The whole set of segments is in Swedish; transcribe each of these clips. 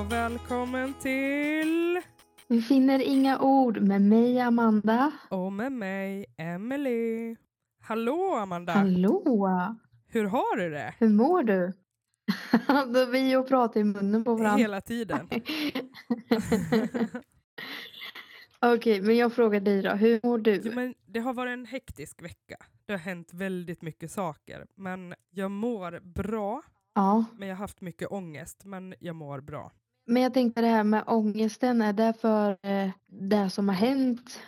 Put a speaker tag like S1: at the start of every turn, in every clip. S1: och välkommen till...
S2: Vi finner inga ord med mig, Amanda.
S1: Och med mig, Emily. Hallå Amanda!
S2: Hallå!
S1: Hur har du det?
S2: Hur mår du? Då vi och pratar i munnen på varandra.
S1: Hela tiden.
S2: Okej, men jag frågar dig då. Hur mår
S1: Jo,
S2: du?
S1: men det har varit en hektisk vecka. Det har hänt väldigt mycket saker. Men jag mår bra.
S2: Ja,
S1: Men jag har haft mycket ångest. Men jag mår bra.
S2: men jag tänkte det här med ångesten. Är det för eh, det som har hänt?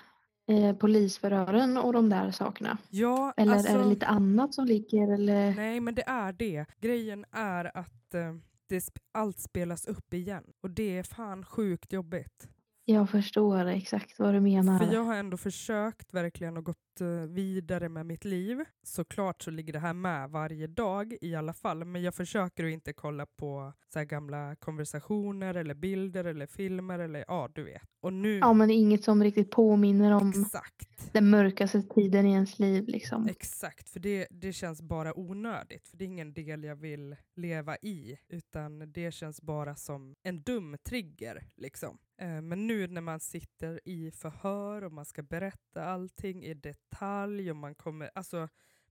S2: Eh, polisförhören och de där sakerna?
S1: Ja,
S2: Eller
S1: alltså...
S2: är det lite annat som ligger? Eller?
S1: Nej, men det är det. Grejen är att eh, det sp- allt spelas upp igen. Och det är fan sjukt jobbigt.
S2: Jag förstår exakt vad du menar.
S1: För jag har ändå försökt verkligen och gått eh, vidare med mitt liv. Såklart så ligger det här med varje dag i alla fall, men jag försöker att inte kolla på så här gamla konversationer eller bilder eller filmer eller ja, du vet. Och nu,
S2: Ja, men inget som riktigt påminner om
S1: exakt,
S2: den mörkaste tiden i ens liv liksom.
S1: exakt, för det, det känns bara onödigt, för det är ingen del jag vill leva i, utan det känns bara som en dum trigger liksom. Eh, Men nu när man sitter i förhör och man ska berätta allting i detalj och man kommer, alltså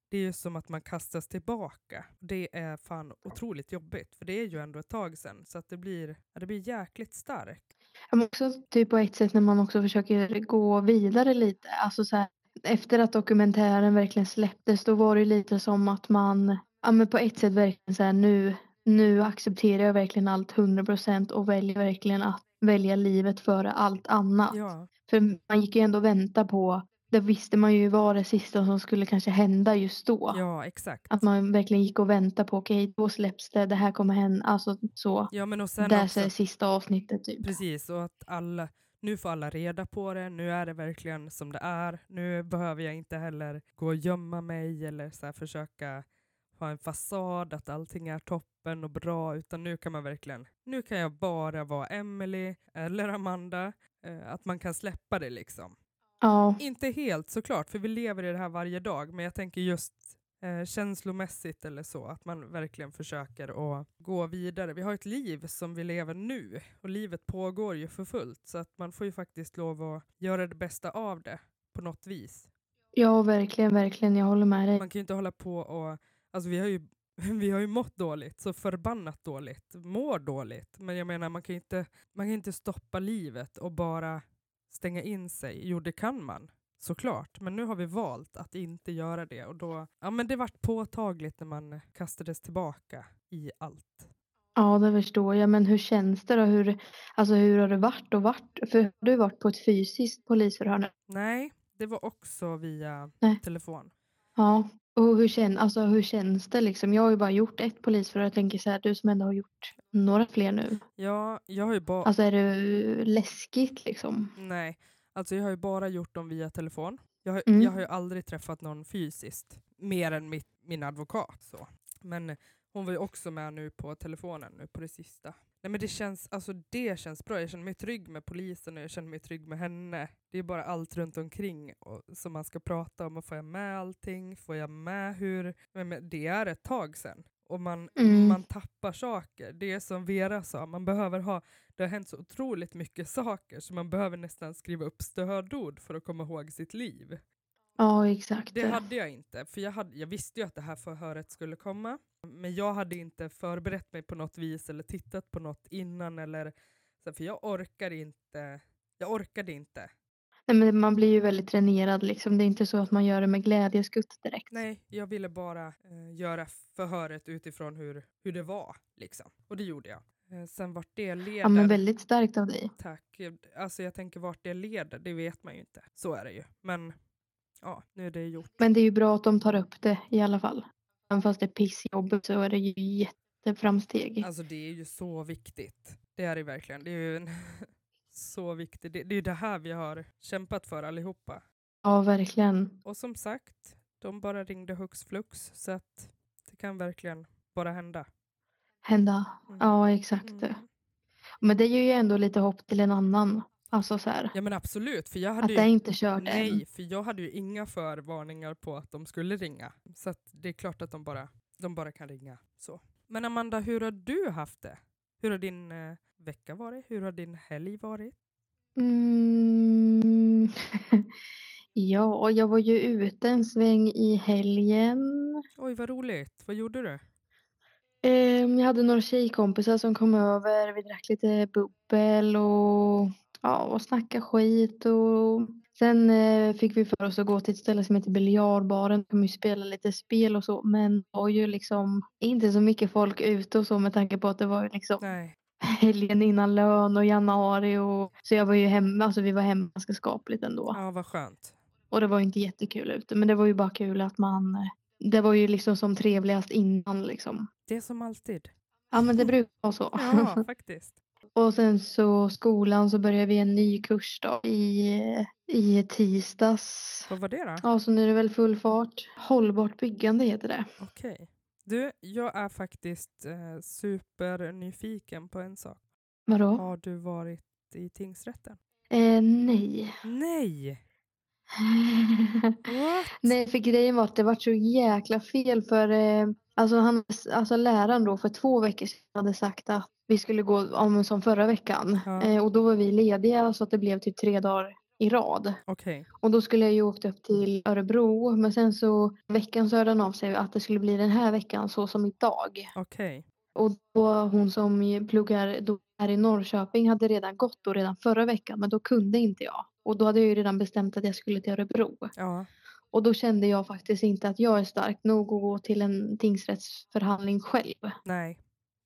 S1: det är ju som att man kastas tillbaka. Det är fan otroligt jobbigt för det är ju ändå ett tag sedan så att det blir, ja, det blir jäkligt starkt.
S2: Men också typ på ett sätt när man också försöker gå vidare lite. Alltså så här, efter att dokumentären verkligen släpptes då var det ju lite som att man ja, men på ett sätt verkligen så här nu, nu accepterar jag verkligen allt 100% och väljer verkligen att välja livet före allt annat.
S1: Ja,
S2: För man gick ju ändå och väntade på, det visste man ju var det sista som skulle kanske hända just då.
S1: ja exakt.
S2: Att man verkligen gick och väntade på okej då släpps det, det här kommer hända, alltså så.
S1: Ja, men och sen
S2: det
S1: också,
S2: är sista avsnittet typ.
S1: Precis, och att alla, nu får alla reda på det, nu är det verkligen som det är, nu behöver jag inte heller gå och gömma mig eller så här försöka ha en fasad att allting är toppen och bra, utan nu kan man verkligen, nu kan jag bara vara Emily eller Amanda, eh, att man kan släppa det liksom.
S2: Ja.
S1: Inte helt såklart, för vi lever i det här varje dag, men jag tänker just eh, känslomässigt eller så, att man verkligen försöker att gå vidare. Vi har ett liv som vi lever nu och livet pågår ju för fullt så att man får ju faktiskt lov att göra det bästa av det på något vis.
S2: Ja, verkligen, verkligen. Jag håller med dig.
S1: Man kan ju inte hålla på och, alltså vi har ju vi har ju mått dåligt, så förbannat dåligt, mår dåligt. Men jag menar, man kan ju inte, man kan inte stoppa livet och bara stänga in sig. Jo, det kan man såklart, men nu har vi valt att inte göra det och då, ja men det vart påtagligt när man kastades tillbaka i allt.
S2: Ja, det förstår jag. Men hur känns det då? Hur, alltså, hur har det varit och varit? För har du varit på ett fysiskt polisförhör? nu?
S1: Nej, det var också via
S2: Nej.
S1: telefon.
S2: Ja. Och hur, kän, alltså, hur känns det liksom? Jag har ju bara gjort ett polisförhör. Jag tänker så här, du som ändå har gjort några fler nu.
S1: Ja, jag har ju bara,
S2: Alltså är det läskigt liksom?
S1: nej, alltså jag har ju bara gjort dem via telefon. Jag har,
S2: Mm.
S1: jag har ju aldrig träffat någon fysiskt, mer än mitt, min advokat. Så. Men hon var ju också med nu på telefonen nu på det sista. Nej men det känns, alltså det känns bra. Jag känner mig trygg med polisen och jag känner mig trygg med henne. Det är bara allt runt omkring och, som man ska prata om. Och får jag med allting? Får jag med hur? Men, men, det är ett tag sedan. Och man,
S2: Mm.
S1: man tappar saker. Det är som Vera sa, man behöver ha, det har hänt så otroligt mycket saker så man behöver nästan skriva upp stödord för att komma ihåg sitt liv.
S2: Ja, exakt.
S1: Det hade jag inte, för jag, hade, jag visste ju att det här förhöret skulle komma. Men jag hade inte förberett mig på något vis eller tittat på något innan. Eller, så, för jag orkar inte. Jag orkade inte.
S2: Nej, men man blir ju väldigt tränerad liksom. Det är inte så att man gör det med glädjeskutt direkt.
S1: Nej, jag ville bara eh, göra förhöret utifrån hur, hur det var. Liksom. Och det gjorde jag. Eh, sen vart det leder...
S2: Ja, men väldigt starkt av dig.
S1: Tack. Alltså jag tänker vart det leder, det vet man ju inte. Så är det ju. Men ja, nu är det gjort.
S2: Men det är ju bra att de tar upp det i alla fall. Även fast det är pissjobbigt så är det ju jätteframsteg.
S1: Alltså det är ju så viktigt. Det är det verkligen. Det är ju en så viktigt. Det, det är ju det här vi har kämpat för allihopa.
S2: Ja, verkligen.
S1: Och som sagt, de bara ringde hux flux så att det kan verkligen bara hända.
S2: Hända.
S1: Mm.
S2: Ja, exakt.
S1: Mm.
S2: Men det ger ju ändå lite hopp till en annan. Alltså så här.
S1: Ja men absolut, för jag
S2: Att
S1: hade
S2: det är
S1: ju,
S2: inte kört än.
S1: nej, för jag hade ju inga förvarningar på att de skulle ringa. Så att det är klart att de bara, de bara kan ringa. Så. Men Amanda, hur har du haft det? Hur har din eh, vecka varit? Hur har din helg varit?
S2: Mm. ja, jag var ju ute en sväng i helgen.
S1: Oj, vad roligt. Vad gjorde du?
S2: Ehm, Jag hade några tjejkompisar som kom över. Vi drack lite bubbel och, ja, och snackade skit. Och... Sen eh, fick vi för oss att gå till ett ställe som heter Biljardbaren. De ju spela lite spel och så. Men det var ju liksom inte så mycket folk ute och så med tanke på att det var ju liksom
S1: Nej.
S2: helgen innan lön och januari. Och... Så jag var ju hemma. Alltså vi var hemma ganska skapligt ändå.
S1: Ja, vad skönt.
S2: Och det var ju inte jättekul ute. Men det var ju bara kul att man. eh, Det var ju liksom som trevligast innan liksom.
S1: Det är som alltid.
S2: Ja men det brukar vara så.
S1: Ja, faktiskt.
S2: Och sen så skolan så börjar vi en ny kurs då i, i tisdags.
S1: Vad var det då?
S2: Ja, så nu är det väl full fart. Hållbart byggande heter det.
S1: Okej. Du, jag är faktiskt eh, supernyfiken på en sak.
S2: Vadå?
S1: Har du varit i tingsrätten?
S2: Eh, nej.
S1: Nej! What?
S2: nej, för grejen var att det var så jäkla fel för eh, alltså, han, alltså läraren då för två veckor sedan hade sagt att vi skulle gå om som förra veckan.
S1: Ja.
S2: Eh, och då var vi lediga så att det blev typ tre dagar i rad.
S1: Okej.
S2: Och då skulle jag ju åkt upp till Örebro men sen så veckan så hörde han av sig att det skulle bli den här veckan så som idag.
S1: Okej.
S2: Och då hon som ju pluggar då här i Norrköping hade redan gått då redan förra veckan men då kunde inte jag. Och då hade jag ju redan bestämt att jag skulle till Örebro.
S1: Ja.
S2: Och då kände jag faktiskt inte att jag är stark nog att gå till en tingsrättsförhandling själv.
S1: Nej.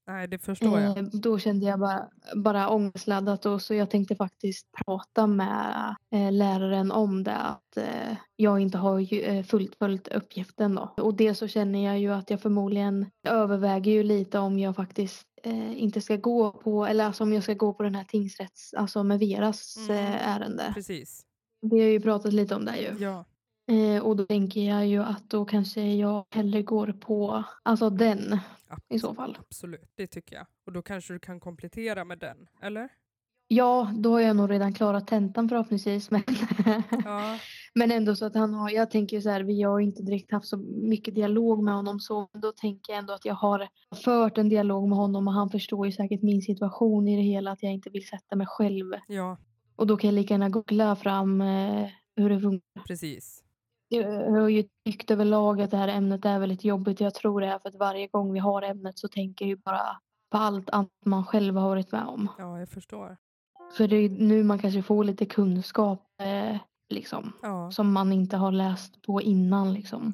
S1: Nej, det förstår jag.
S2: Eh, Då kände jag bara, bara ångestladdat och så jag tänkte faktiskt prata med eh, läraren om det. Att eh, jag inte har ju, eh, fullt följt uppgiften då. Och det så känner jag ju att jag förmodligen överväger ju lite om jag faktiskt eh, inte ska gå på, eller alltså om jag ska gå på den här tingsrätts, alltså med Veras
S1: Mm.
S2: eh, ärende.
S1: Precis.
S2: Vi har ju pratat lite om det ju.
S1: Ja.
S2: Eh, och då tänker jag ju att då kanske jag hellre går på, alltså den i så fall.
S1: Absolut, det tycker jag. Och då kanske du kan komplettera med den, eller?
S2: Ja, då har jag nog redan klarat tentan förhoppningsvis. Men,
S1: Ja.
S2: men ändå så att han har, jag tänker ju så här, vi har ju inte direkt haft så mycket dialog med honom så men då tänker jag ändå att jag har fört en dialog med honom och han förstår ju säkert min situation i det hela att jag inte vill sätta mig själv.
S1: Ja,
S2: Och då kan jag lika gärna googla fram eh, hur det funkar.
S1: precis.
S2: Jag har ju tyckt överlag att det här ämnet är väldigt jobbigt. Jag tror det är för att varje gång vi har ämnet så tänker jag ju bara på allt annat man själv har varit med om.
S1: Ja, jag förstår.
S2: För det är nu man kanske får lite kunskap eh, liksom.
S1: Ja,
S2: Som man inte har läst på innan liksom.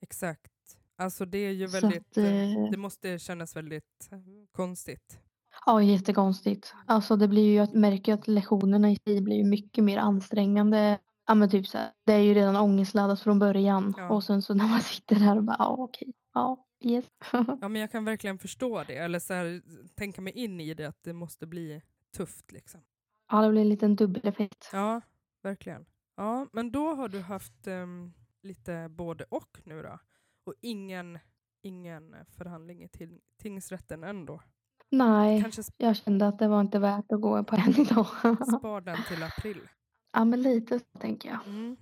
S1: exakt. Alltså det är ju
S2: Så
S1: väldigt...
S2: att, eh,
S1: eh, Det måste kännas väldigt eh, konstigt.
S2: Ja, jättekonstigt. Alltså det blir ju, jag märker ju att lektionerna i sig blir ju mycket mer ansträngande. Ja men typ så här, det är ju redan ångestladdat från början.
S1: Ja.
S2: Och sen så när man sitter där och bara, ja okej, ja, yes.
S1: Ja, men jag kan verkligen förstå det, eller så här, tänka mig in i det, att det måste bli tufft. liksom.
S2: ja, det blir en liten dubbeleffekt.
S1: Ja, verkligen. Ja, men då har du haft ehm, lite både och nu då. Och ingen, ingen förhandling i ting- tingsrätten ändå.
S2: Nej,
S1: Kanske sp-
S2: jag kände att det var inte värt att gå på en idag.
S1: spar den till april.
S2: ja men lite så tänker jag.
S1: Mm.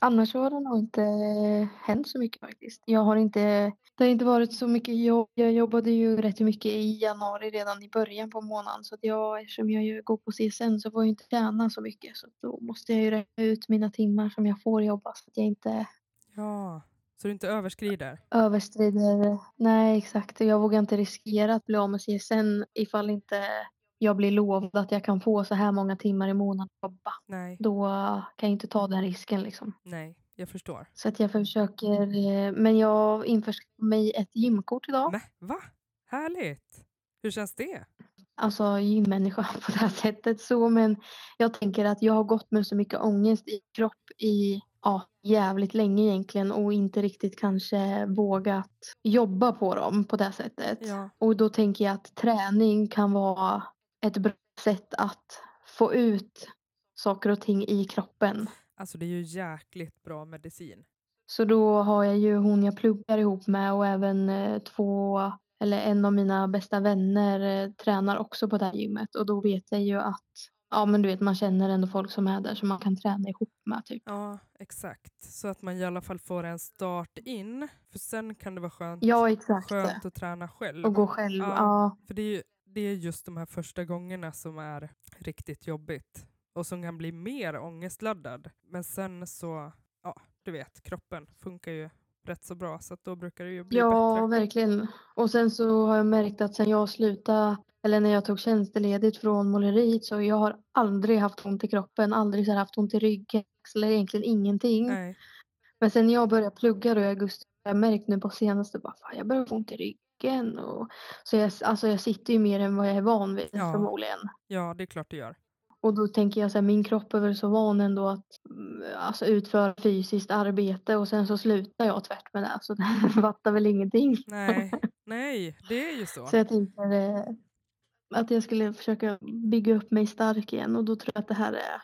S2: Annars har det nog inte eh, hänt så mycket faktiskt. Jag har inte, det har inte varit så mycket jobb. Jag jobbade ju rätt mycket i januari redan i början på månaden. Så att jag, eftersom jag ju går på CSN så får jag inte tjäna så mycket. Så att då måste jag ju räkna ut mina timmar som jag får jobba så att jag inte
S1: Ja, så du inte överskrider.
S2: överskrider. Nej exakt, jag vågar inte riskera att bli av med CSN ifall inte jag blir lovad att jag kan få så här många timmar i månaden att jobba.
S1: Nej,
S2: Då kan jag inte ta den risken liksom.
S1: nej, jag förstår.
S2: Så att jag försöker, eh, men jag införskaffade mig ett gymkort idag.
S1: Men va? Härligt! Hur känns det?
S2: Alltså gymmänniska på det här sättet så men jag tänker att jag har gått med så mycket ångest i kropp i ja, jävligt länge egentligen och inte riktigt kanske vågat jobba på dem på det här sättet.
S1: Ja,
S2: Och då tänker jag att träning kan vara ett bra sätt att få ut saker och ting i kroppen.
S1: alltså det är ju jäkligt bra medicin.
S2: Så då har jag ju hon jag pluggar ihop med och även eh, två eller en av mina bästa vänner eh, tränar också på det här gymmet och då vet jag ju att ja men du vet man känner ändå folk som är där som man kan träna ihop med typ.
S1: Ja, exakt. Så att man i alla fall får en start in. För sen kan det vara skönt,
S2: Ja exakt.
S1: skönt att träna själv.
S2: Och gå själv.
S1: Ja.
S2: Ja.
S1: För det är ju det är just de här första gångerna som är riktigt jobbigt och som kan bli mer ångestladdad. Men sen så, ja, du vet, kroppen funkar ju rätt så bra så att då brukar det ju bli
S2: ja,
S1: bättre.
S2: verkligen. Och sen så har jag märkt att sen jag slutade, eller när jag tog tjänsteledigt från måleriet så jag har aldrig haft ont i kroppen, aldrig så här haft ont i ryggen, eller egentligen ingenting.
S1: Nej,
S2: Men sen när jag började plugga då i augusti, jag har märkt nu på senaste bara, fan, jag börjar få ont i ryggen. Och, så jag, alltså jag sitter ju mer än vad jag är van vid
S1: Ja.
S2: förmodligen.
S1: ja, det är klart det gör.
S2: Och då tänker jag så här, min kropp är väl så van ändå att mm, alltså, utföra fysiskt arbete och sen så slutar jag tvärt med det. Så den fattar väl ingenting.
S1: Nej, nej, det är ju så.
S2: Så jag tänker eh, att jag skulle försöka bygga upp mig stark igen och då tror jag att det här är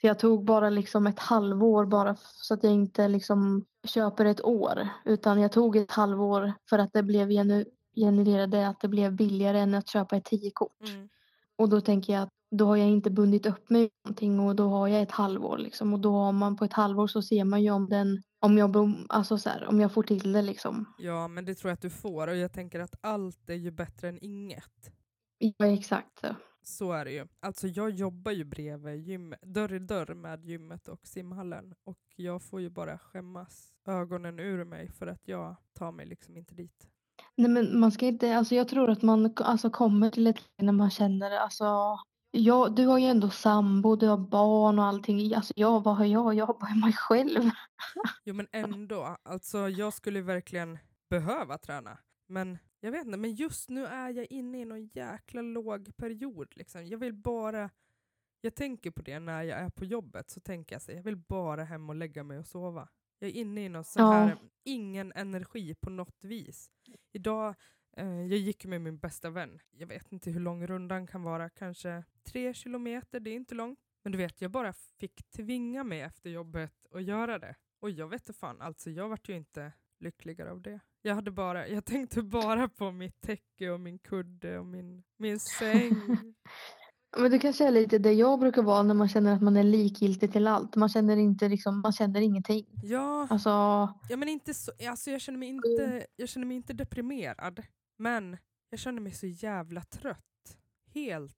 S2: för jag tog bara liksom ett halvår bara f- så att jag inte liksom köper ett år utan jag tog ett halvår för att det blev genu- genererade att det blev billigare än att köpa ett 10-kort.
S1: Mm,
S2: Och då tänker jag att då har jag inte bundit upp mig i någonting och då har jag ett halvår liksom och då har man på ett halvår så ser man ju om den om jag, bom- alltså så här, om jag får till det liksom.
S1: ja, men det tror jag att du får och jag tänker att allt är ju bättre än inget.
S2: Ja, exakt. så.
S1: Så är det ju. Alltså jag jobbar ju bredvid gym, dörr i dörr med gymmet och simhallen och jag får ju bara skämmas ögonen ur mig för att jag tar mig liksom inte dit.
S2: Nej men man ska inte, alltså jag tror att man k- alltså kommer till ett läge när man känner alltså Ja, du har ju ändå sambo, du har barn och allting. Alltså jag, vad har jag? Jag har bara mig själv.
S1: Jo men ändå, alltså jag skulle verkligen behöva träna. Men jag vet inte, men just nu är jag inne i någon jäkla låg period liksom. Jag vill bara, jag tänker på det när jag är på jobbet, så tänker jag så här, jag vill bara hem och lägga mig och sova. Jag är inne i någon sån
S2: Ja.
S1: här, ingen energi på något vis. Idag, eh, jag gick med min bästa vän, jag vet inte hur lång rundan kan vara, kanske tre kilometer, det är inte långt. Men du vet, jag bara fick tvinga mig efter jobbet att göra det. Och jag vet inte fan, alltså jag vart ju inte lyckligare av det. Jag, hade bara, jag tänkte bara på mitt täcke och min kudde och min, min säng.
S2: Men det kanske är lite det jag brukar vara när man känner att man är likgiltig till allt. Man känner inte liksom, man känner ingenting.
S1: ja,
S2: Alltså,
S1: ja, men inte så, alltså jag, känner mig inte, jag känner mig inte deprimerad, men jag känner mig så jävla trött. Helt.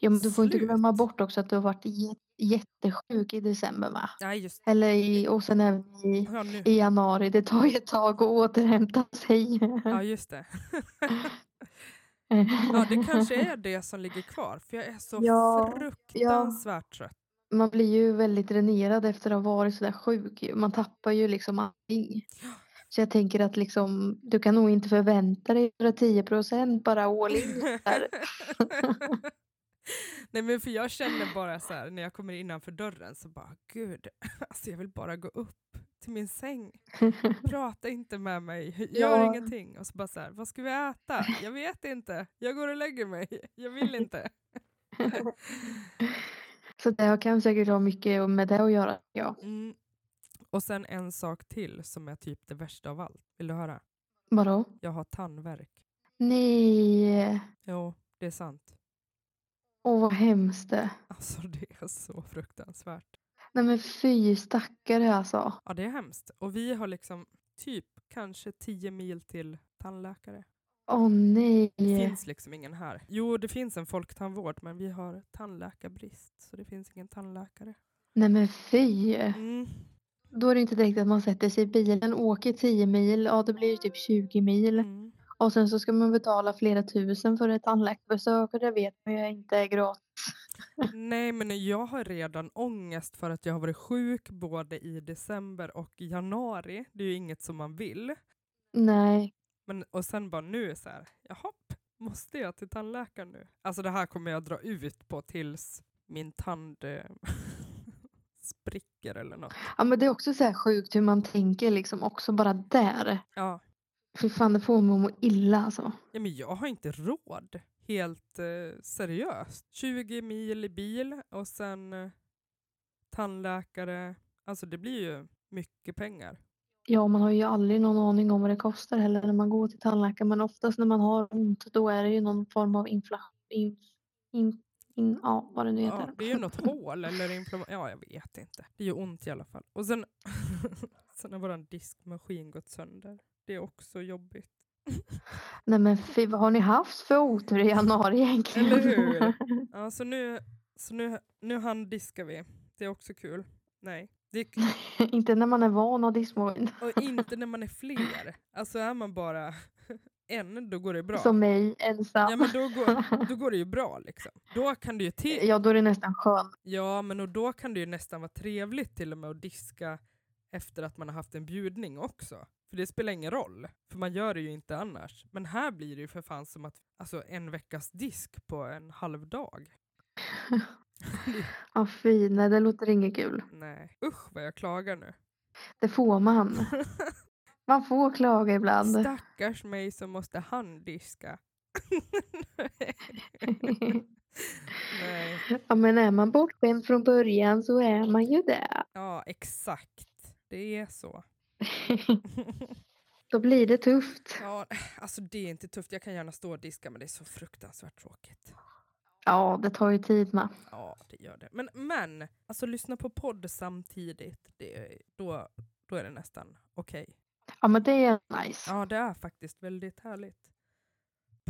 S2: ja, men du får inte
S1: Slut.
S2: glömma bort också att du har varit jä- jättesjuk i december va?
S1: Nej, just
S2: Eller i, och sen även i,
S1: ja, nu.
S2: i januari. Det tar ju ett tag att återhämta sig.
S1: Ja, just det. Ja, det kanske är det som ligger kvar, för jag är så
S2: Ja,
S1: fruktansvärt trött.
S2: Man blir ju väldigt dränerad efter att ha varit sådär sjuk. ju. Man tappar ju liksom allting. Så jag tänker att liksom, du kan nog inte förvänta dig 110 procent bara all in. där.
S1: Nej men för jag känner bara så här när jag kommer innanför dörren så bara gud, alltså jag vill bara gå upp till min säng. Prata inte med mig, gör
S2: Ja.
S1: ingenting. Och så bara så här, vad ska vi äta? Jag vet inte, jag går och lägger mig, jag vill inte.
S2: Så det har- kan säkert ha mycket med det att göra. Ja.
S1: Mm. Och sen en sak till som är typ det värsta av allt. Vill du höra?
S2: Vadå?
S1: Jag har tandvärk.
S2: Nej,
S1: Jo, det är sant.
S2: åh vad hemskt. det.
S1: Alltså det är så fruktansvärt.
S2: Nej men fy stackare alltså.
S1: Ja, det är hemskt. Och vi har liksom typ kanske 10 mil till tandläkare.
S2: Åh nej.
S1: Det finns liksom ingen här. Jo, det finns en folktandvård, men vi har tandläkarbrist, så det finns ingen tandläkare.
S2: Nej men fy.
S1: Mm.
S2: Då är det inte direkt att man sätter sig i bilen, åker 10 mil, ja det blir ju typ 20 mil.
S1: Mm.
S2: Och sen så ska man betala flera tusen för ett tandläkarbesök och det vet man ju inte är gratis.
S1: Nej, men jag har redan ångest för att jag har varit sjuk både i december och i januari. Det är ju inget som man vill.
S2: Nej.
S1: Men, och sen bara nu så här, jaha, måste jag till tandläkaren nu? Alltså det här kommer jag dra ut på tills min tand eh, spricker eller något.
S2: Ja men det är också så här sjukt hur man tänker liksom också bara där.
S1: Ja.
S2: Fy fan det får mig att må illa alltså.
S1: ja, men jag har inte råd. Helt eh, seriöst. 20 mil i bil och sen eh, tandläkare. Alltså det blir ju mycket pengar.
S2: Ja man har ju aldrig någon aning om vad det kostar heller när man går till tandläkaren men oftast när man har ont då är det ju någon form av inflation. In, in, in, ja vad det nu heter.
S1: Ja, det är ju något hål eller inflammation. Ja, jag vet inte. Det gör ont i alla fall. Och sen, sen har vår diskmaskin gått sönder. Det är också jobbigt.
S2: Nej men fy, vad har ni haft för otur i januari egentligen?
S1: Eller hur? Ja, så nu, så nu, nu handdiskar vi. Det är också kul. Nej. Det är, k-
S2: Inte när man är van att ha diskmaskin.
S1: och inte när man är fler. Alltså är man bara en, då går det bra.
S2: Som mig, ensam.
S1: Ja, men då går, då går det ju bra liksom. Då kan det ju till,
S2: Ja, då är det nästan skönt.
S1: Ja, men och då kan det ju nästan vara trevligt till och med att diska efter att man har haft en bjudning också. För det spelar ingen roll, för man gör det ju inte annars. Men här blir det ju för fan som att, alltså en veckas disk på en halv dag.
S2: Ja, fy, nej det låter inget kul.
S1: Nej, usch vad jag klagar nu.
S2: Det får man. Man får klaga ibland.
S1: Stackars mig som måste handdiska. Nej,
S2: ja, men är man bortskämd från början så är man ju det.
S1: ja exakt. Det är så.
S2: Då blir det tufft.
S1: Ja, alltså det är inte tufft. Jag kan gärna stå och diska men det är så fruktansvärt tråkigt.
S2: Ja, det tar ju tid med.
S1: Ja, det gör det. Men, men alltså lyssna på podd samtidigt, det, är- då, då är det nästan okej.
S2: Ja, men det är nice.
S1: Ja, det är faktiskt väldigt härligt.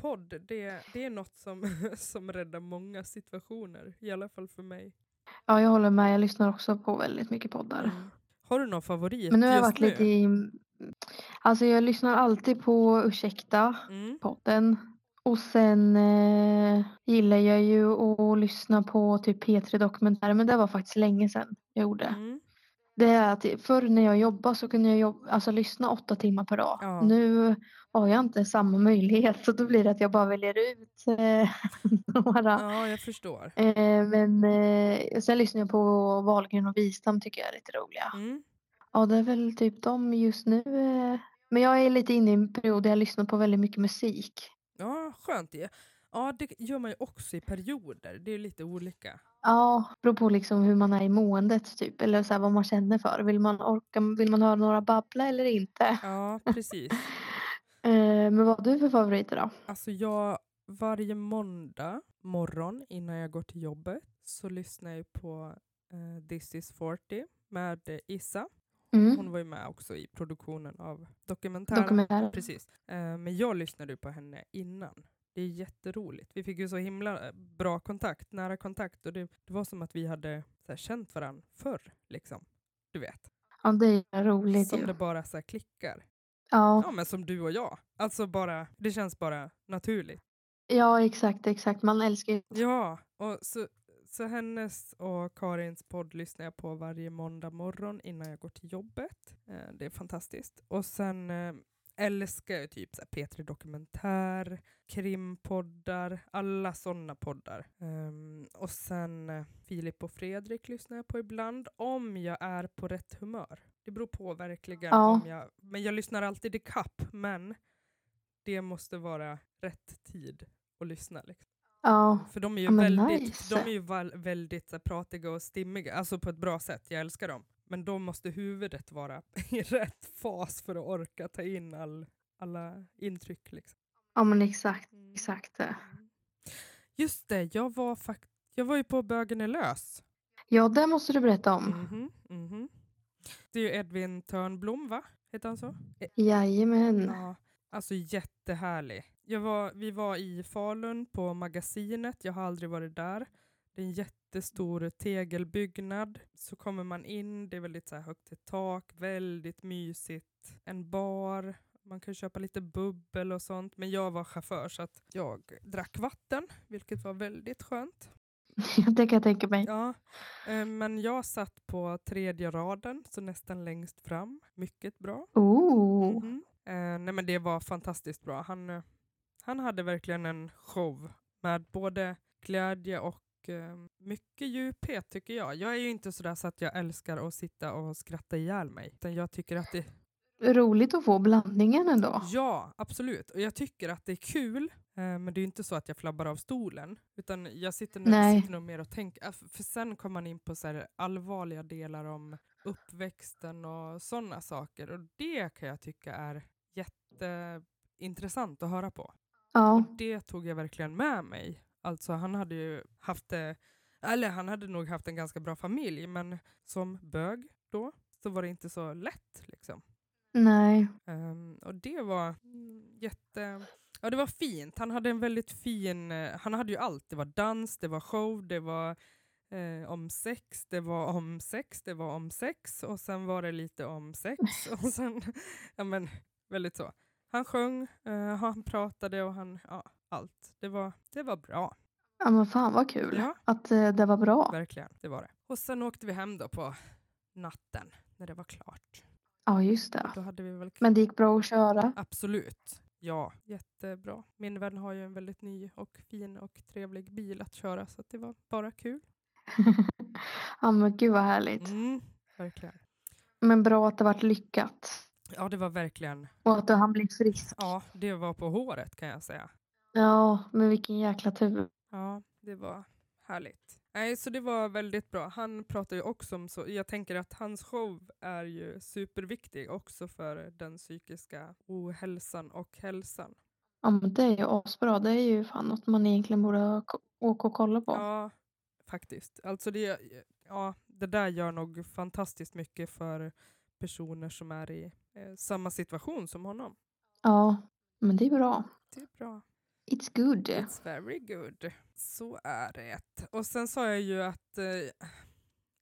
S1: Podd, det, det är något som, som räddar många situationer, i alla fall för mig.
S2: Ja, jag håller med. Jag lyssnar också på väldigt mycket poddar.
S1: Mm. Har du någon favorit
S2: Men nu har jag
S1: just
S2: varit lite i... Alltså jag lyssnar alltid på Ursäkta,
S1: Mm.
S2: podden. Och sen eh, gillar jag ju att lyssna på typ P3 Dokumentär, men det var faktiskt länge sedan jag gjorde.
S1: Mm.
S2: Det är att förr när jag jobbade så kunde jag jobb- alltså, lyssna åtta timmar per dag.
S1: Ja.
S2: Nu har jag inte samma möjlighet så då blir det att jag bara väljer ut eh, några.
S1: Ja, jag förstår.
S2: Eh, men eh, sen lyssnar jag på Wahlgren och Wistam tycker jag är lite roliga.
S1: Mm.
S2: Ja det är väl typ de just nu. Eh. Men jag är lite inne i en period där jag lyssnar på väldigt mycket musik.
S1: Ja, skönt det. Ja, det gör man ju också i perioder. Det är ju lite olika.
S2: Ja, beror på liksom hur man är i måendet typ. Eller så här, vad man känner för. Vill man orka, vill man höra några babbla eller inte?
S1: Ja, precis.
S2: Eh, men vad har du för favoriter då?
S1: Alltså jag, varje måndag morgon innan jag går till jobbet så lyssnar jag på eh, This is 40 med eh, Issa.
S2: Mm.
S1: Hon var ju med också i produktionen av dokumentären.
S2: Dokumentären.
S1: Precis. Eh, men jag lyssnade ju på henne innan. Det är jätteroligt. Vi fick ju så himla eh, bra kontakt, nära kontakt och det, det var som att vi hade så här, känt varandra förr. Liksom. Du vet.
S2: Ja, det är roligt
S1: som
S2: ju.
S1: det bara så här, klickar.
S2: Ja,
S1: Ja men som du och jag. Alltså bara, det känns bara naturligt.
S2: ja, exakt, exakt. Man älskar ju.
S1: Ja, och så, så hennes och Karins podd lyssnar jag på varje måndag morgon innan jag går till jobbet. Eh, det är fantastiskt. Och sen eh, älskar jag typ så här P3 Dokumentär, krimpoddar, alla sådana poddar. Ehm, och sen eh, Filip och Fredrik lyssnar jag på ibland, om jag är på rätt humör. Det beror på verkligen.
S2: Ja.
S1: Om jag, men jag lyssnar alltid i kapp, men det måste vara rätt tid att lyssna. Liksom.
S2: Ja,
S1: För de är ju
S2: Ja, men
S1: väldigt,
S2: nice.
S1: de är ju val- väldigt så här, pratiga och stimmiga, alltså på ett bra sätt, jag älskar dem. Men då måste huvudet vara i rätt fas för att orka ta in all, alla intryck. Liksom.
S2: ja men exakt,
S1: Mm.
S2: exakt.
S1: Just det, jag var, fakt- jag var ju på Bögen är lös.
S2: Ja, det måste du berätta om.
S1: Mhm, mhm. Det är ju Edvin Törnblom, va? Heter han så?
S2: Jajamän.
S1: Ja, alltså jättehärlig. Jag var, vi var i Falun på Magasinet, jag har aldrig varit där. Det är en jättestor tegelbyggnad. Så kommer man in, det är väldigt så här högt i tak, väldigt mysigt. En bar, man kan köpa lite bubbel och sånt. Men jag var chaufför så att jag drack vatten, vilket var väldigt skönt.
S2: Det kan jag tänka mig.
S1: Ja, eh, men jag satt på tredje raden, så nästan längst fram. Mycket bra.
S2: Oh,
S1: Mhm. Eh, nej men det var fantastiskt bra. Han, eh, han hade verkligen en show med både glädje och eh, mycket djuphet tycker jag. Jag är ju inte sådär så att jag älskar att sitta och skratta ihjäl mig. Utan jag tycker att det,
S2: roligt att få blandningen ändå.
S1: ja absolut, och jag tycker att det är kul. eh, Men det är ju inte så att jag flabbar av stolen. Utan jag sitter, nu,
S2: Nej.
S1: sitter nog mer och tänker. eh, För sen kommer man in på så här allvarliga delar om uppväxten och sådana saker. Och det kan jag tycka är jätteintressant att höra på.
S2: Ja,
S1: Och det tog jag verkligen med mig. Alltså han hade ju haft det, eller han hade nog haft en ganska bra familj men som bög då så var det inte så lätt liksom.
S2: Nej.
S1: Ehm, och det var mm, jätte... Ja, det var fint. Han hade en väldigt fin... eh, Han hade ju allt. Det var dans, det var show, det var eh, om sex, det var om sex, det var om sex och sen var det lite om sex. Och sen, ja men, väldigt så. Han sjöng, eh, han pratade och han... Ja, allt. Det var, det var bra,
S2: Ja men fan vad kul
S1: Ja.
S2: att eh, det var bra.
S1: verkligen. Det var det. Och sen åkte vi hem då på natten när det var klart.
S2: Ja just det.
S1: Då hade vi väl
S2: Men det gick bra att köra.
S1: Absolut. Ja, jättebra. Min vän har ju en väldigt ny och fin och trevlig bil att köra så att det var bara kul.
S2: Ja men gud vad härligt.
S1: Mm, verkligen.
S2: Men bra att det vart lyckat.
S1: Ja, det var verkligen.
S2: Och att han blev frisk.
S1: Ja, det var på håret kan jag säga.
S2: Ja men vilken jäkla tur.
S1: Ja, det var härligt. Nej, så det var väldigt bra. Han pratar ju också om så. Jag tänker att hans show är ju superviktig också för den psykiska ohälsan och hälsan.
S2: Ja men det är ju asbra. Det är ju fan något man egentligen borde k- åka och kolla på.
S1: Ja, faktiskt. Alltså det, ja, det där gör nog fantastiskt mycket för personer som är i eh, samma situation som honom.
S2: Ja, men det är bra.
S1: Det är bra.
S2: It's good.
S1: It's very good. Så är det. Och sen sa jag ju att, eh,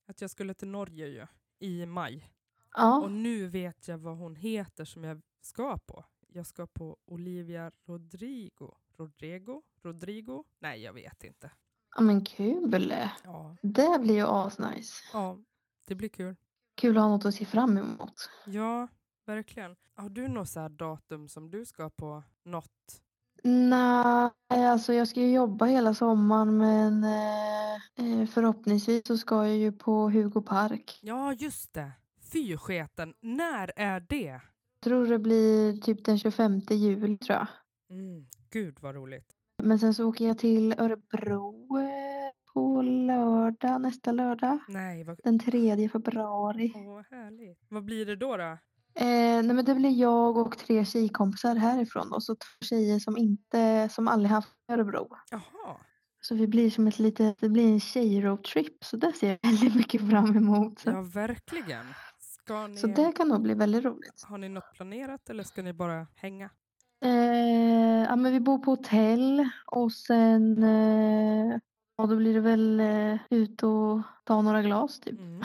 S1: att jag skulle till Norge ju, i maj.
S2: Ja,
S1: Och nu vet jag vad hon heter som jag ska på. Jag ska på Olivia Rodrigo. Rodrigo? Rodrigo? Nej, jag vet inte.
S2: ja men kul.
S1: Ja,
S2: Det blir ju asnice.
S1: ja det blir kul.
S2: Kul att ha något att se fram emot.
S1: Ja, verkligen. Har du något så här datum som du ska på något?
S2: Nej, alltså jag ska ju jobba hela sommaren men eh, eh, förhoppningsvis så ska jag ju på Hugo Park.
S1: Ja, just det. Fy sketen, när är det?
S2: Jag tror det blir typ den 25 juli tror jag.
S1: Mm. Gud vad roligt.
S2: Men sen så åker jag till Örebro eh, på lördag, nästa lördag.
S1: Nej, vad
S2: Den 3 februari.
S1: åh, härligt. Vad blir det då? då?
S2: Eh, nej men det blir jag och tre tjejkompisar härifrån och så två tjejer som inte, som aldrig haft Örebro.
S1: Jaha,
S2: Så vi blir som ett litet, det blir en tjejroadtrip så det ser jag väldigt mycket fram emot.
S1: ja verkligen. Ska ni,
S2: Så det kan nog bli väldigt roligt.
S1: Har ni något planerat eller ska ni bara hänga?
S2: Eh, ja men vi bor på hotell och sen, eh, ja då blir det väl eh, ut och ta några glas typ.
S1: Mm.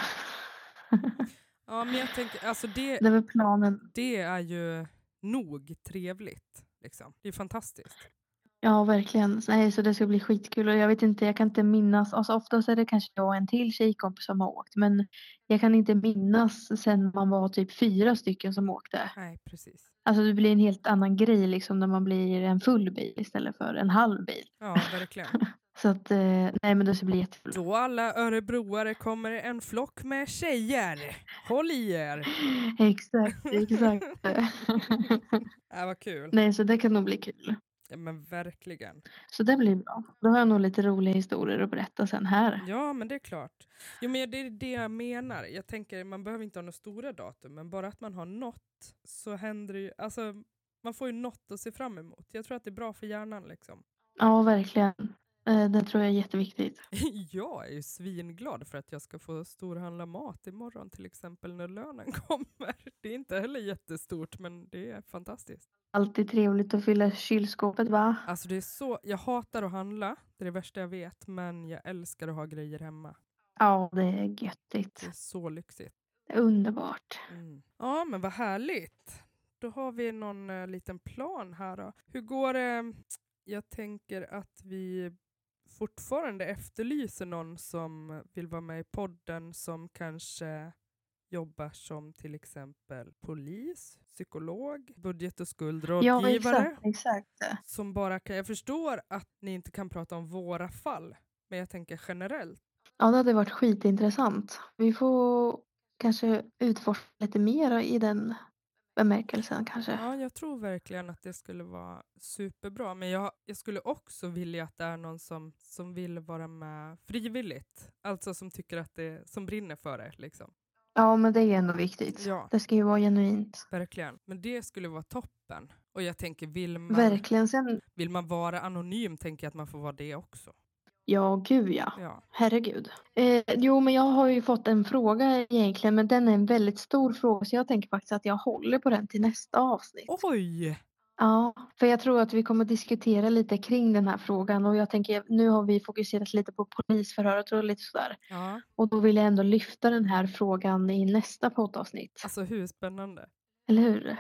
S1: Ja, men jag tänker, alltså det,
S2: Det är väl planen.
S1: det är ju nog trevligt. Liksom. Det är fantastiskt.
S2: Ja, verkligen. Så- Nej, så det ska bli skitkul och jag vet inte, jag kan inte minnas. Alltså oftast är det kanske jag och en till tjejkompis som har åkt, men jag kan inte minnas sen man var typ fyra stycken som åkte.
S1: Nej, precis.
S2: Alltså det blir en helt annan grej liksom när man blir en full bil istället för en halv bil.
S1: Ja, verkligen.
S2: Så att, eh, nej men det ska bli jättekul.
S1: Då alla örebroare kommer en flock med tjejer. Håll i er!
S2: Exakt, exakt.
S1: Äh, vad kul.
S2: nej, så det kan nog bli kul.
S1: Ja, men verkligen.
S2: Så det blir bra. Då har jag nog lite roliga historier att berätta sen här.
S1: Ja, men det är klart. Jo, men det är det jag menar. Jag tänker, man behöver inte ha några stora datum, men bara att man har något så händer det ju. Alltså, man får ju något att se fram emot. Jag tror att det är bra för hjärnan liksom.
S2: Ja, verkligen. Eh, det tror jag är jätteviktigt.
S1: Jag är ju svinglad för att jag ska få storhandla mat imorgon till exempel när lönen kommer. Det är inte heller jättestort, men det är fantastiskt.
S2: Alltid trevligt att fylla kylskåpet va?
S1: Alltså det är så, jag hatar att handla, det är det värsta jag vet, men jag älskar att ha grejer hemma.
S2: Ja, det är
S1: Det
S2: göttigt.
S1: är så lyxigt.
S2: Det är Underbart.
S1: Mm. Ja, men vad härligt. Då har vi någon eh, liten plan här då. Hur går det? Jag tänker att vi fortfarande efterlyser någon som vill vara med i podden som kanske jobbar som till exempel polis, psykolog, budget och
S2: Ja,
S1: skuldrådgivare.
S2: exakt. exakt.
S1: som bara kan... Jag förstår att ni inte kan prata om våra fall, men jag tänker generellt.
S2: Ja, det hade varit skitintressant. Vi får kanske utforska lite mer i den bemärkelsen kanske.
S1: Ja, jag tror verkligen att det skulle vara superbra, men jag, jag skulle också vilja att det är någon som, som vill vara med frivilligt, alltså som tycker att det som brinner för det. Liksom.
S2: Ja, men det är ändå viktigt.
S1: Ja,
S2: Det ska ju vara genuint.
S1: verkligen. Men det skulle vara toppen. Och jag tänker, vill man,
S2: Verkligen. Sen,
S1: vill man vara anonym tänker jag att man får vara det också.
S2: Ja, gud ja.
S1: Ja.
S2: Herregud. Eh, jo, men jag har ju fått en fråga egentligen, men den är en väldigt stor fråga så jag tänker faktiskt att jag håller på den till nästa avsnitt.
S1: Oj!
S2: Ja, för jag tror att vi kommer diskutera lite kring den här frågan och jag tänker nu har vi fokuserat lite på polisförhöret och lite sådär.
S1: Ja,
S2: Och då vill jag ändå lyfta den här frågan i nästa poddavsnitt.
S1: alltså hur spännande.
S2: Eller hur?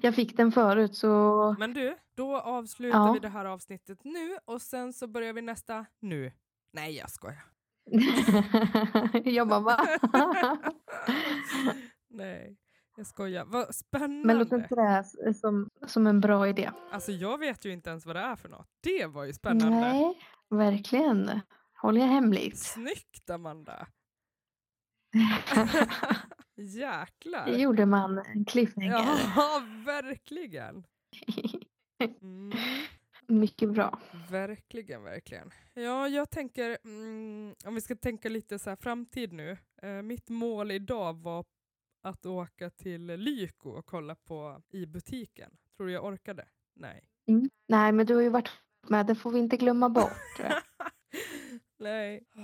S2: jag fick den förut så
S1: Men du, då avslutar
S2: Ja.
S1: vi det här avsnittet nu och sen så börjar vi nästa nu. Nej, jag skojar.
S2: jag bara va?
S1: Nej, jag skojar. Vad spännande.
S2: Men låter inte det här som, som en bra idé?
S1: Alltså jag vet ju inte ens vad det är för något. Det var ju spännande.
S2: Nej, verkligen. Håller jag hemligt.
S1: Snyggt Amanda! Jäklar!
S2: Det gjorde man en cliffhanger.
S1: Ja, verkligen! Mm,
S2: Mycket bra.
S1: verkligen, verkligen. Ja, jag tänker, mm, om vi ska tänka lite så här framtid nu. Eh, mitt mål idag var att åka till Lyko och kolla på i butiken. Tror du jag orkade? Nej.
S2: Nej, men du har ju varit med. Det får vi inte glömma bort.
S1: Nej. Ah,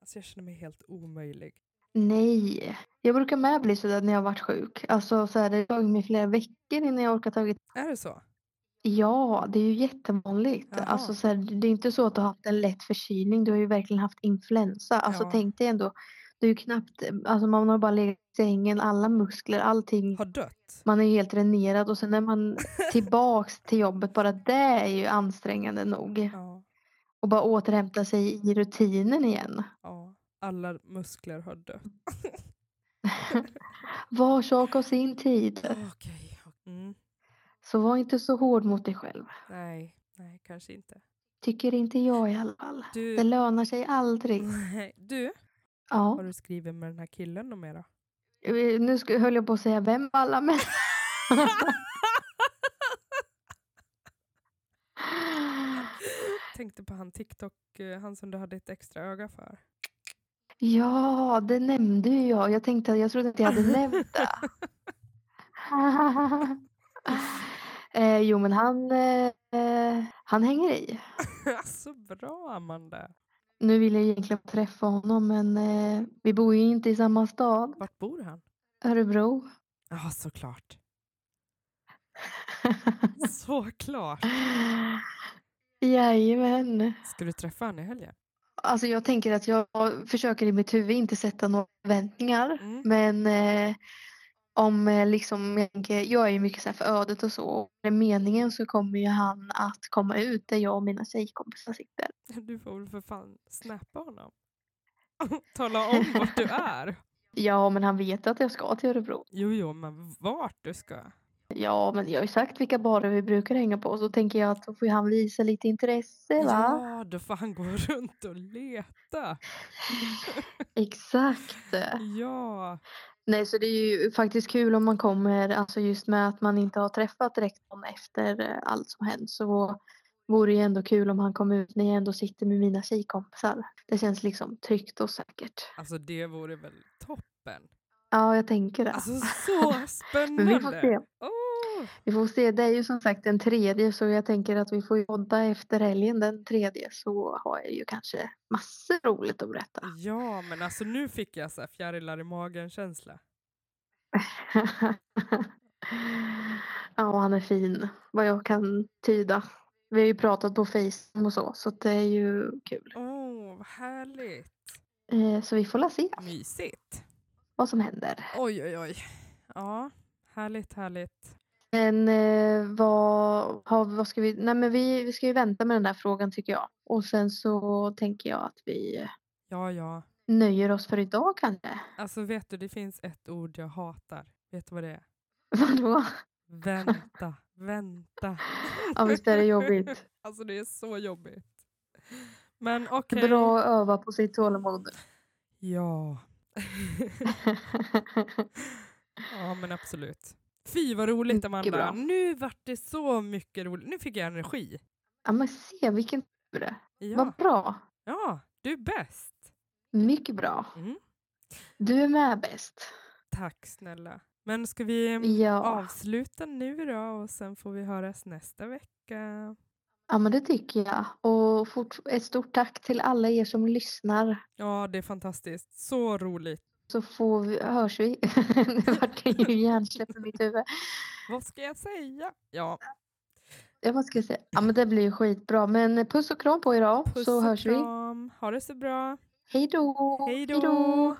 S1: Alltså jag känner mig helt omöjlig.
S2: Nej. Jag brukar med bli sådär när jag har varit sjuk. Alltså så här, det tog mig flera veckor innan jag orkar tagit.
S1: Är det så?
S2: Ja, det är ju jättevanligt.
S1: Jaha.
S2: Alltså så här, det är inte så att du har haft en lätt förkylning. Du har ju verkligen haft influensa. Alltså
S1: Ja.
S2: tänk dig ändå. Det är ju knappt, alltså man har bara legat i sängen, alla muskler, allting.
S1: Har dött?
S2: Man är ju helt dränerad och sen är man tillbaks till jobbet. Bara det är ju ansträngande nog.
S1: Ja.
S2: Och bara återhämta sig i rutinen igen.
S1: ja. Alla muskler har dött.
S2: Var sak har sin tid.
S1: Okej. Mm.
S2: Så var inte så hård mot dig själv.
S1: Nej, nej, kanske inte.
S2: Tycker inte jag i alla fall.
S1: Du-
S2: Det lönar sig aldrig.
S1: Nej. Du, har
S2: Ja.
S1: du skrivit med den här killen och mera?
S2: Eh, Nu sk- höll jag på att säga vem av alla men...
S1: Tänkte på han TikTok, eh, han som du hade ett extra öga för.
S2: Ja, det nämnde ju jag. Jag tänkte, jag trodde inte jag hade nämnt det. eh, jo, men han, eh, eh, han hänger i.
S1: så Alltså, bra Amanda!
S2: Nu vill jag egentligen träffa honom, men eh, vi bor ju inte i samma stad.
S1: Vart bor han?
S2: Örebro.
S1: Ja, såklart. Såklart!
S2: Jajamän.
S1: Ska du träffa han i helgen?
S2: Alltså jag tänker att jag försöker i mitt huvud inte sätta några förväntningar.
S1: Mm.
S2: Men eh, om eh, liksom, jag, tänker, jag är ju mycket så här för ödet och så. Och med meningen så kommer ju han att komma ut där jag och mina tjejkompisar sitter.
S1: Du får väl för fan snappa honom. Tala om vart du är.
S2: Ja men han vet att jag ska till Örebro.
S1: Jo, jo, men vart du ska.
S2: Ja men jag har ju sagt vilka barer vi brukar hänga på. Så tänker jag att då får ju han visa lite intresse va?
S1: Ja, då får han gå runt och leta.
S2: Exakt.
S1: Ja,
S2: Nej så det är ju faktiskt kul om man kommer, alltså just med att man inte har träffat direkt någon efter eh, allt som hänt så vore det ju ändå kul om han kom ut när jag ändå sitter med mina tjejkompisar. Det känns liksom tryggt och säkert.
S1: alltså det vore väl toppen.
S2: Ja, jag tänker det.
S1: Alltså så
S2: Men vi får
S1: spännande.
S2: se.
S1: Åh,
S2: Vi får se. Det är ju som sagt den tredje så jag tänker att vi får ju podda efter helgen den tredje så har jag ju kanske massor roligt att berätta.
S1: ja, men alltså nu fick jag så här fjärilar i magen-känsla.
S2: ja, han är fin vad jag kan tyda. Vi har ju pratat på Facebook och så, så att det är ju kul.
S1: Åh, vad härligt.
S2: Eh, Så vi får la se
S1: Mysigt.
S2: vad som händer.
S1: Oj, oj, oj. Ja, härligt, härligt.
S2: Men eh, vad, har, vad ska vi... Nej, men vi, vi ska ju vänta med den där frågan tycker jag. Och sen så tänker jag att vi
S1: Ja, ja.
S2: nöjer oss för idag kanske.
S1: Alltså vet du, det finns ett ord jag hatar. Vet du vad det är?
S2: Vadå?
S1: Vänta, vänta.
S2: Ja, visst är det jobbigt.
S1: Alltså det är så jobbigt. Men okej.
S2: Bra att öva på sitt tålamod.
S1: Ja. ja, men absolut. Fy vad roligt
S2: Mycket
S1: Amanda.
S2: bra.
S1: Nu vart det så mycket roligt. Nu fick jag energi.
S2: ja, men se vilken tur.
S1: Ja,
S2: Vad bra.
S1: ja du är bäst.
S2: Mycket bra.
S1: Mm.
S2: Du är med bäst. Tack.
S1: Tack snälla. Men ska vi mm,
S2: Ja.
S1: avsluta nu då och sen får vi höras nästa vecka.
S2: ja, men det tycker jag. Och och fort, ett stort tack till alla er som lyssnar.
S1: Ja, det är fantastiskt. Så roligt.
S2: Så får vi, hörs vi. nu vart det ju hjärnsläpp i mitt huvud.
S1: Vad ska jag säga? Ja,
S2: Jag vad ska jag säga? Ja men det blir ju skitbra. Men puss och kram på er då.
S1: puss
S2: så
S1: och
S2: hörs vi.
S1: kram. Ha det så bra.
S2: Hej då.
S1: Hej då!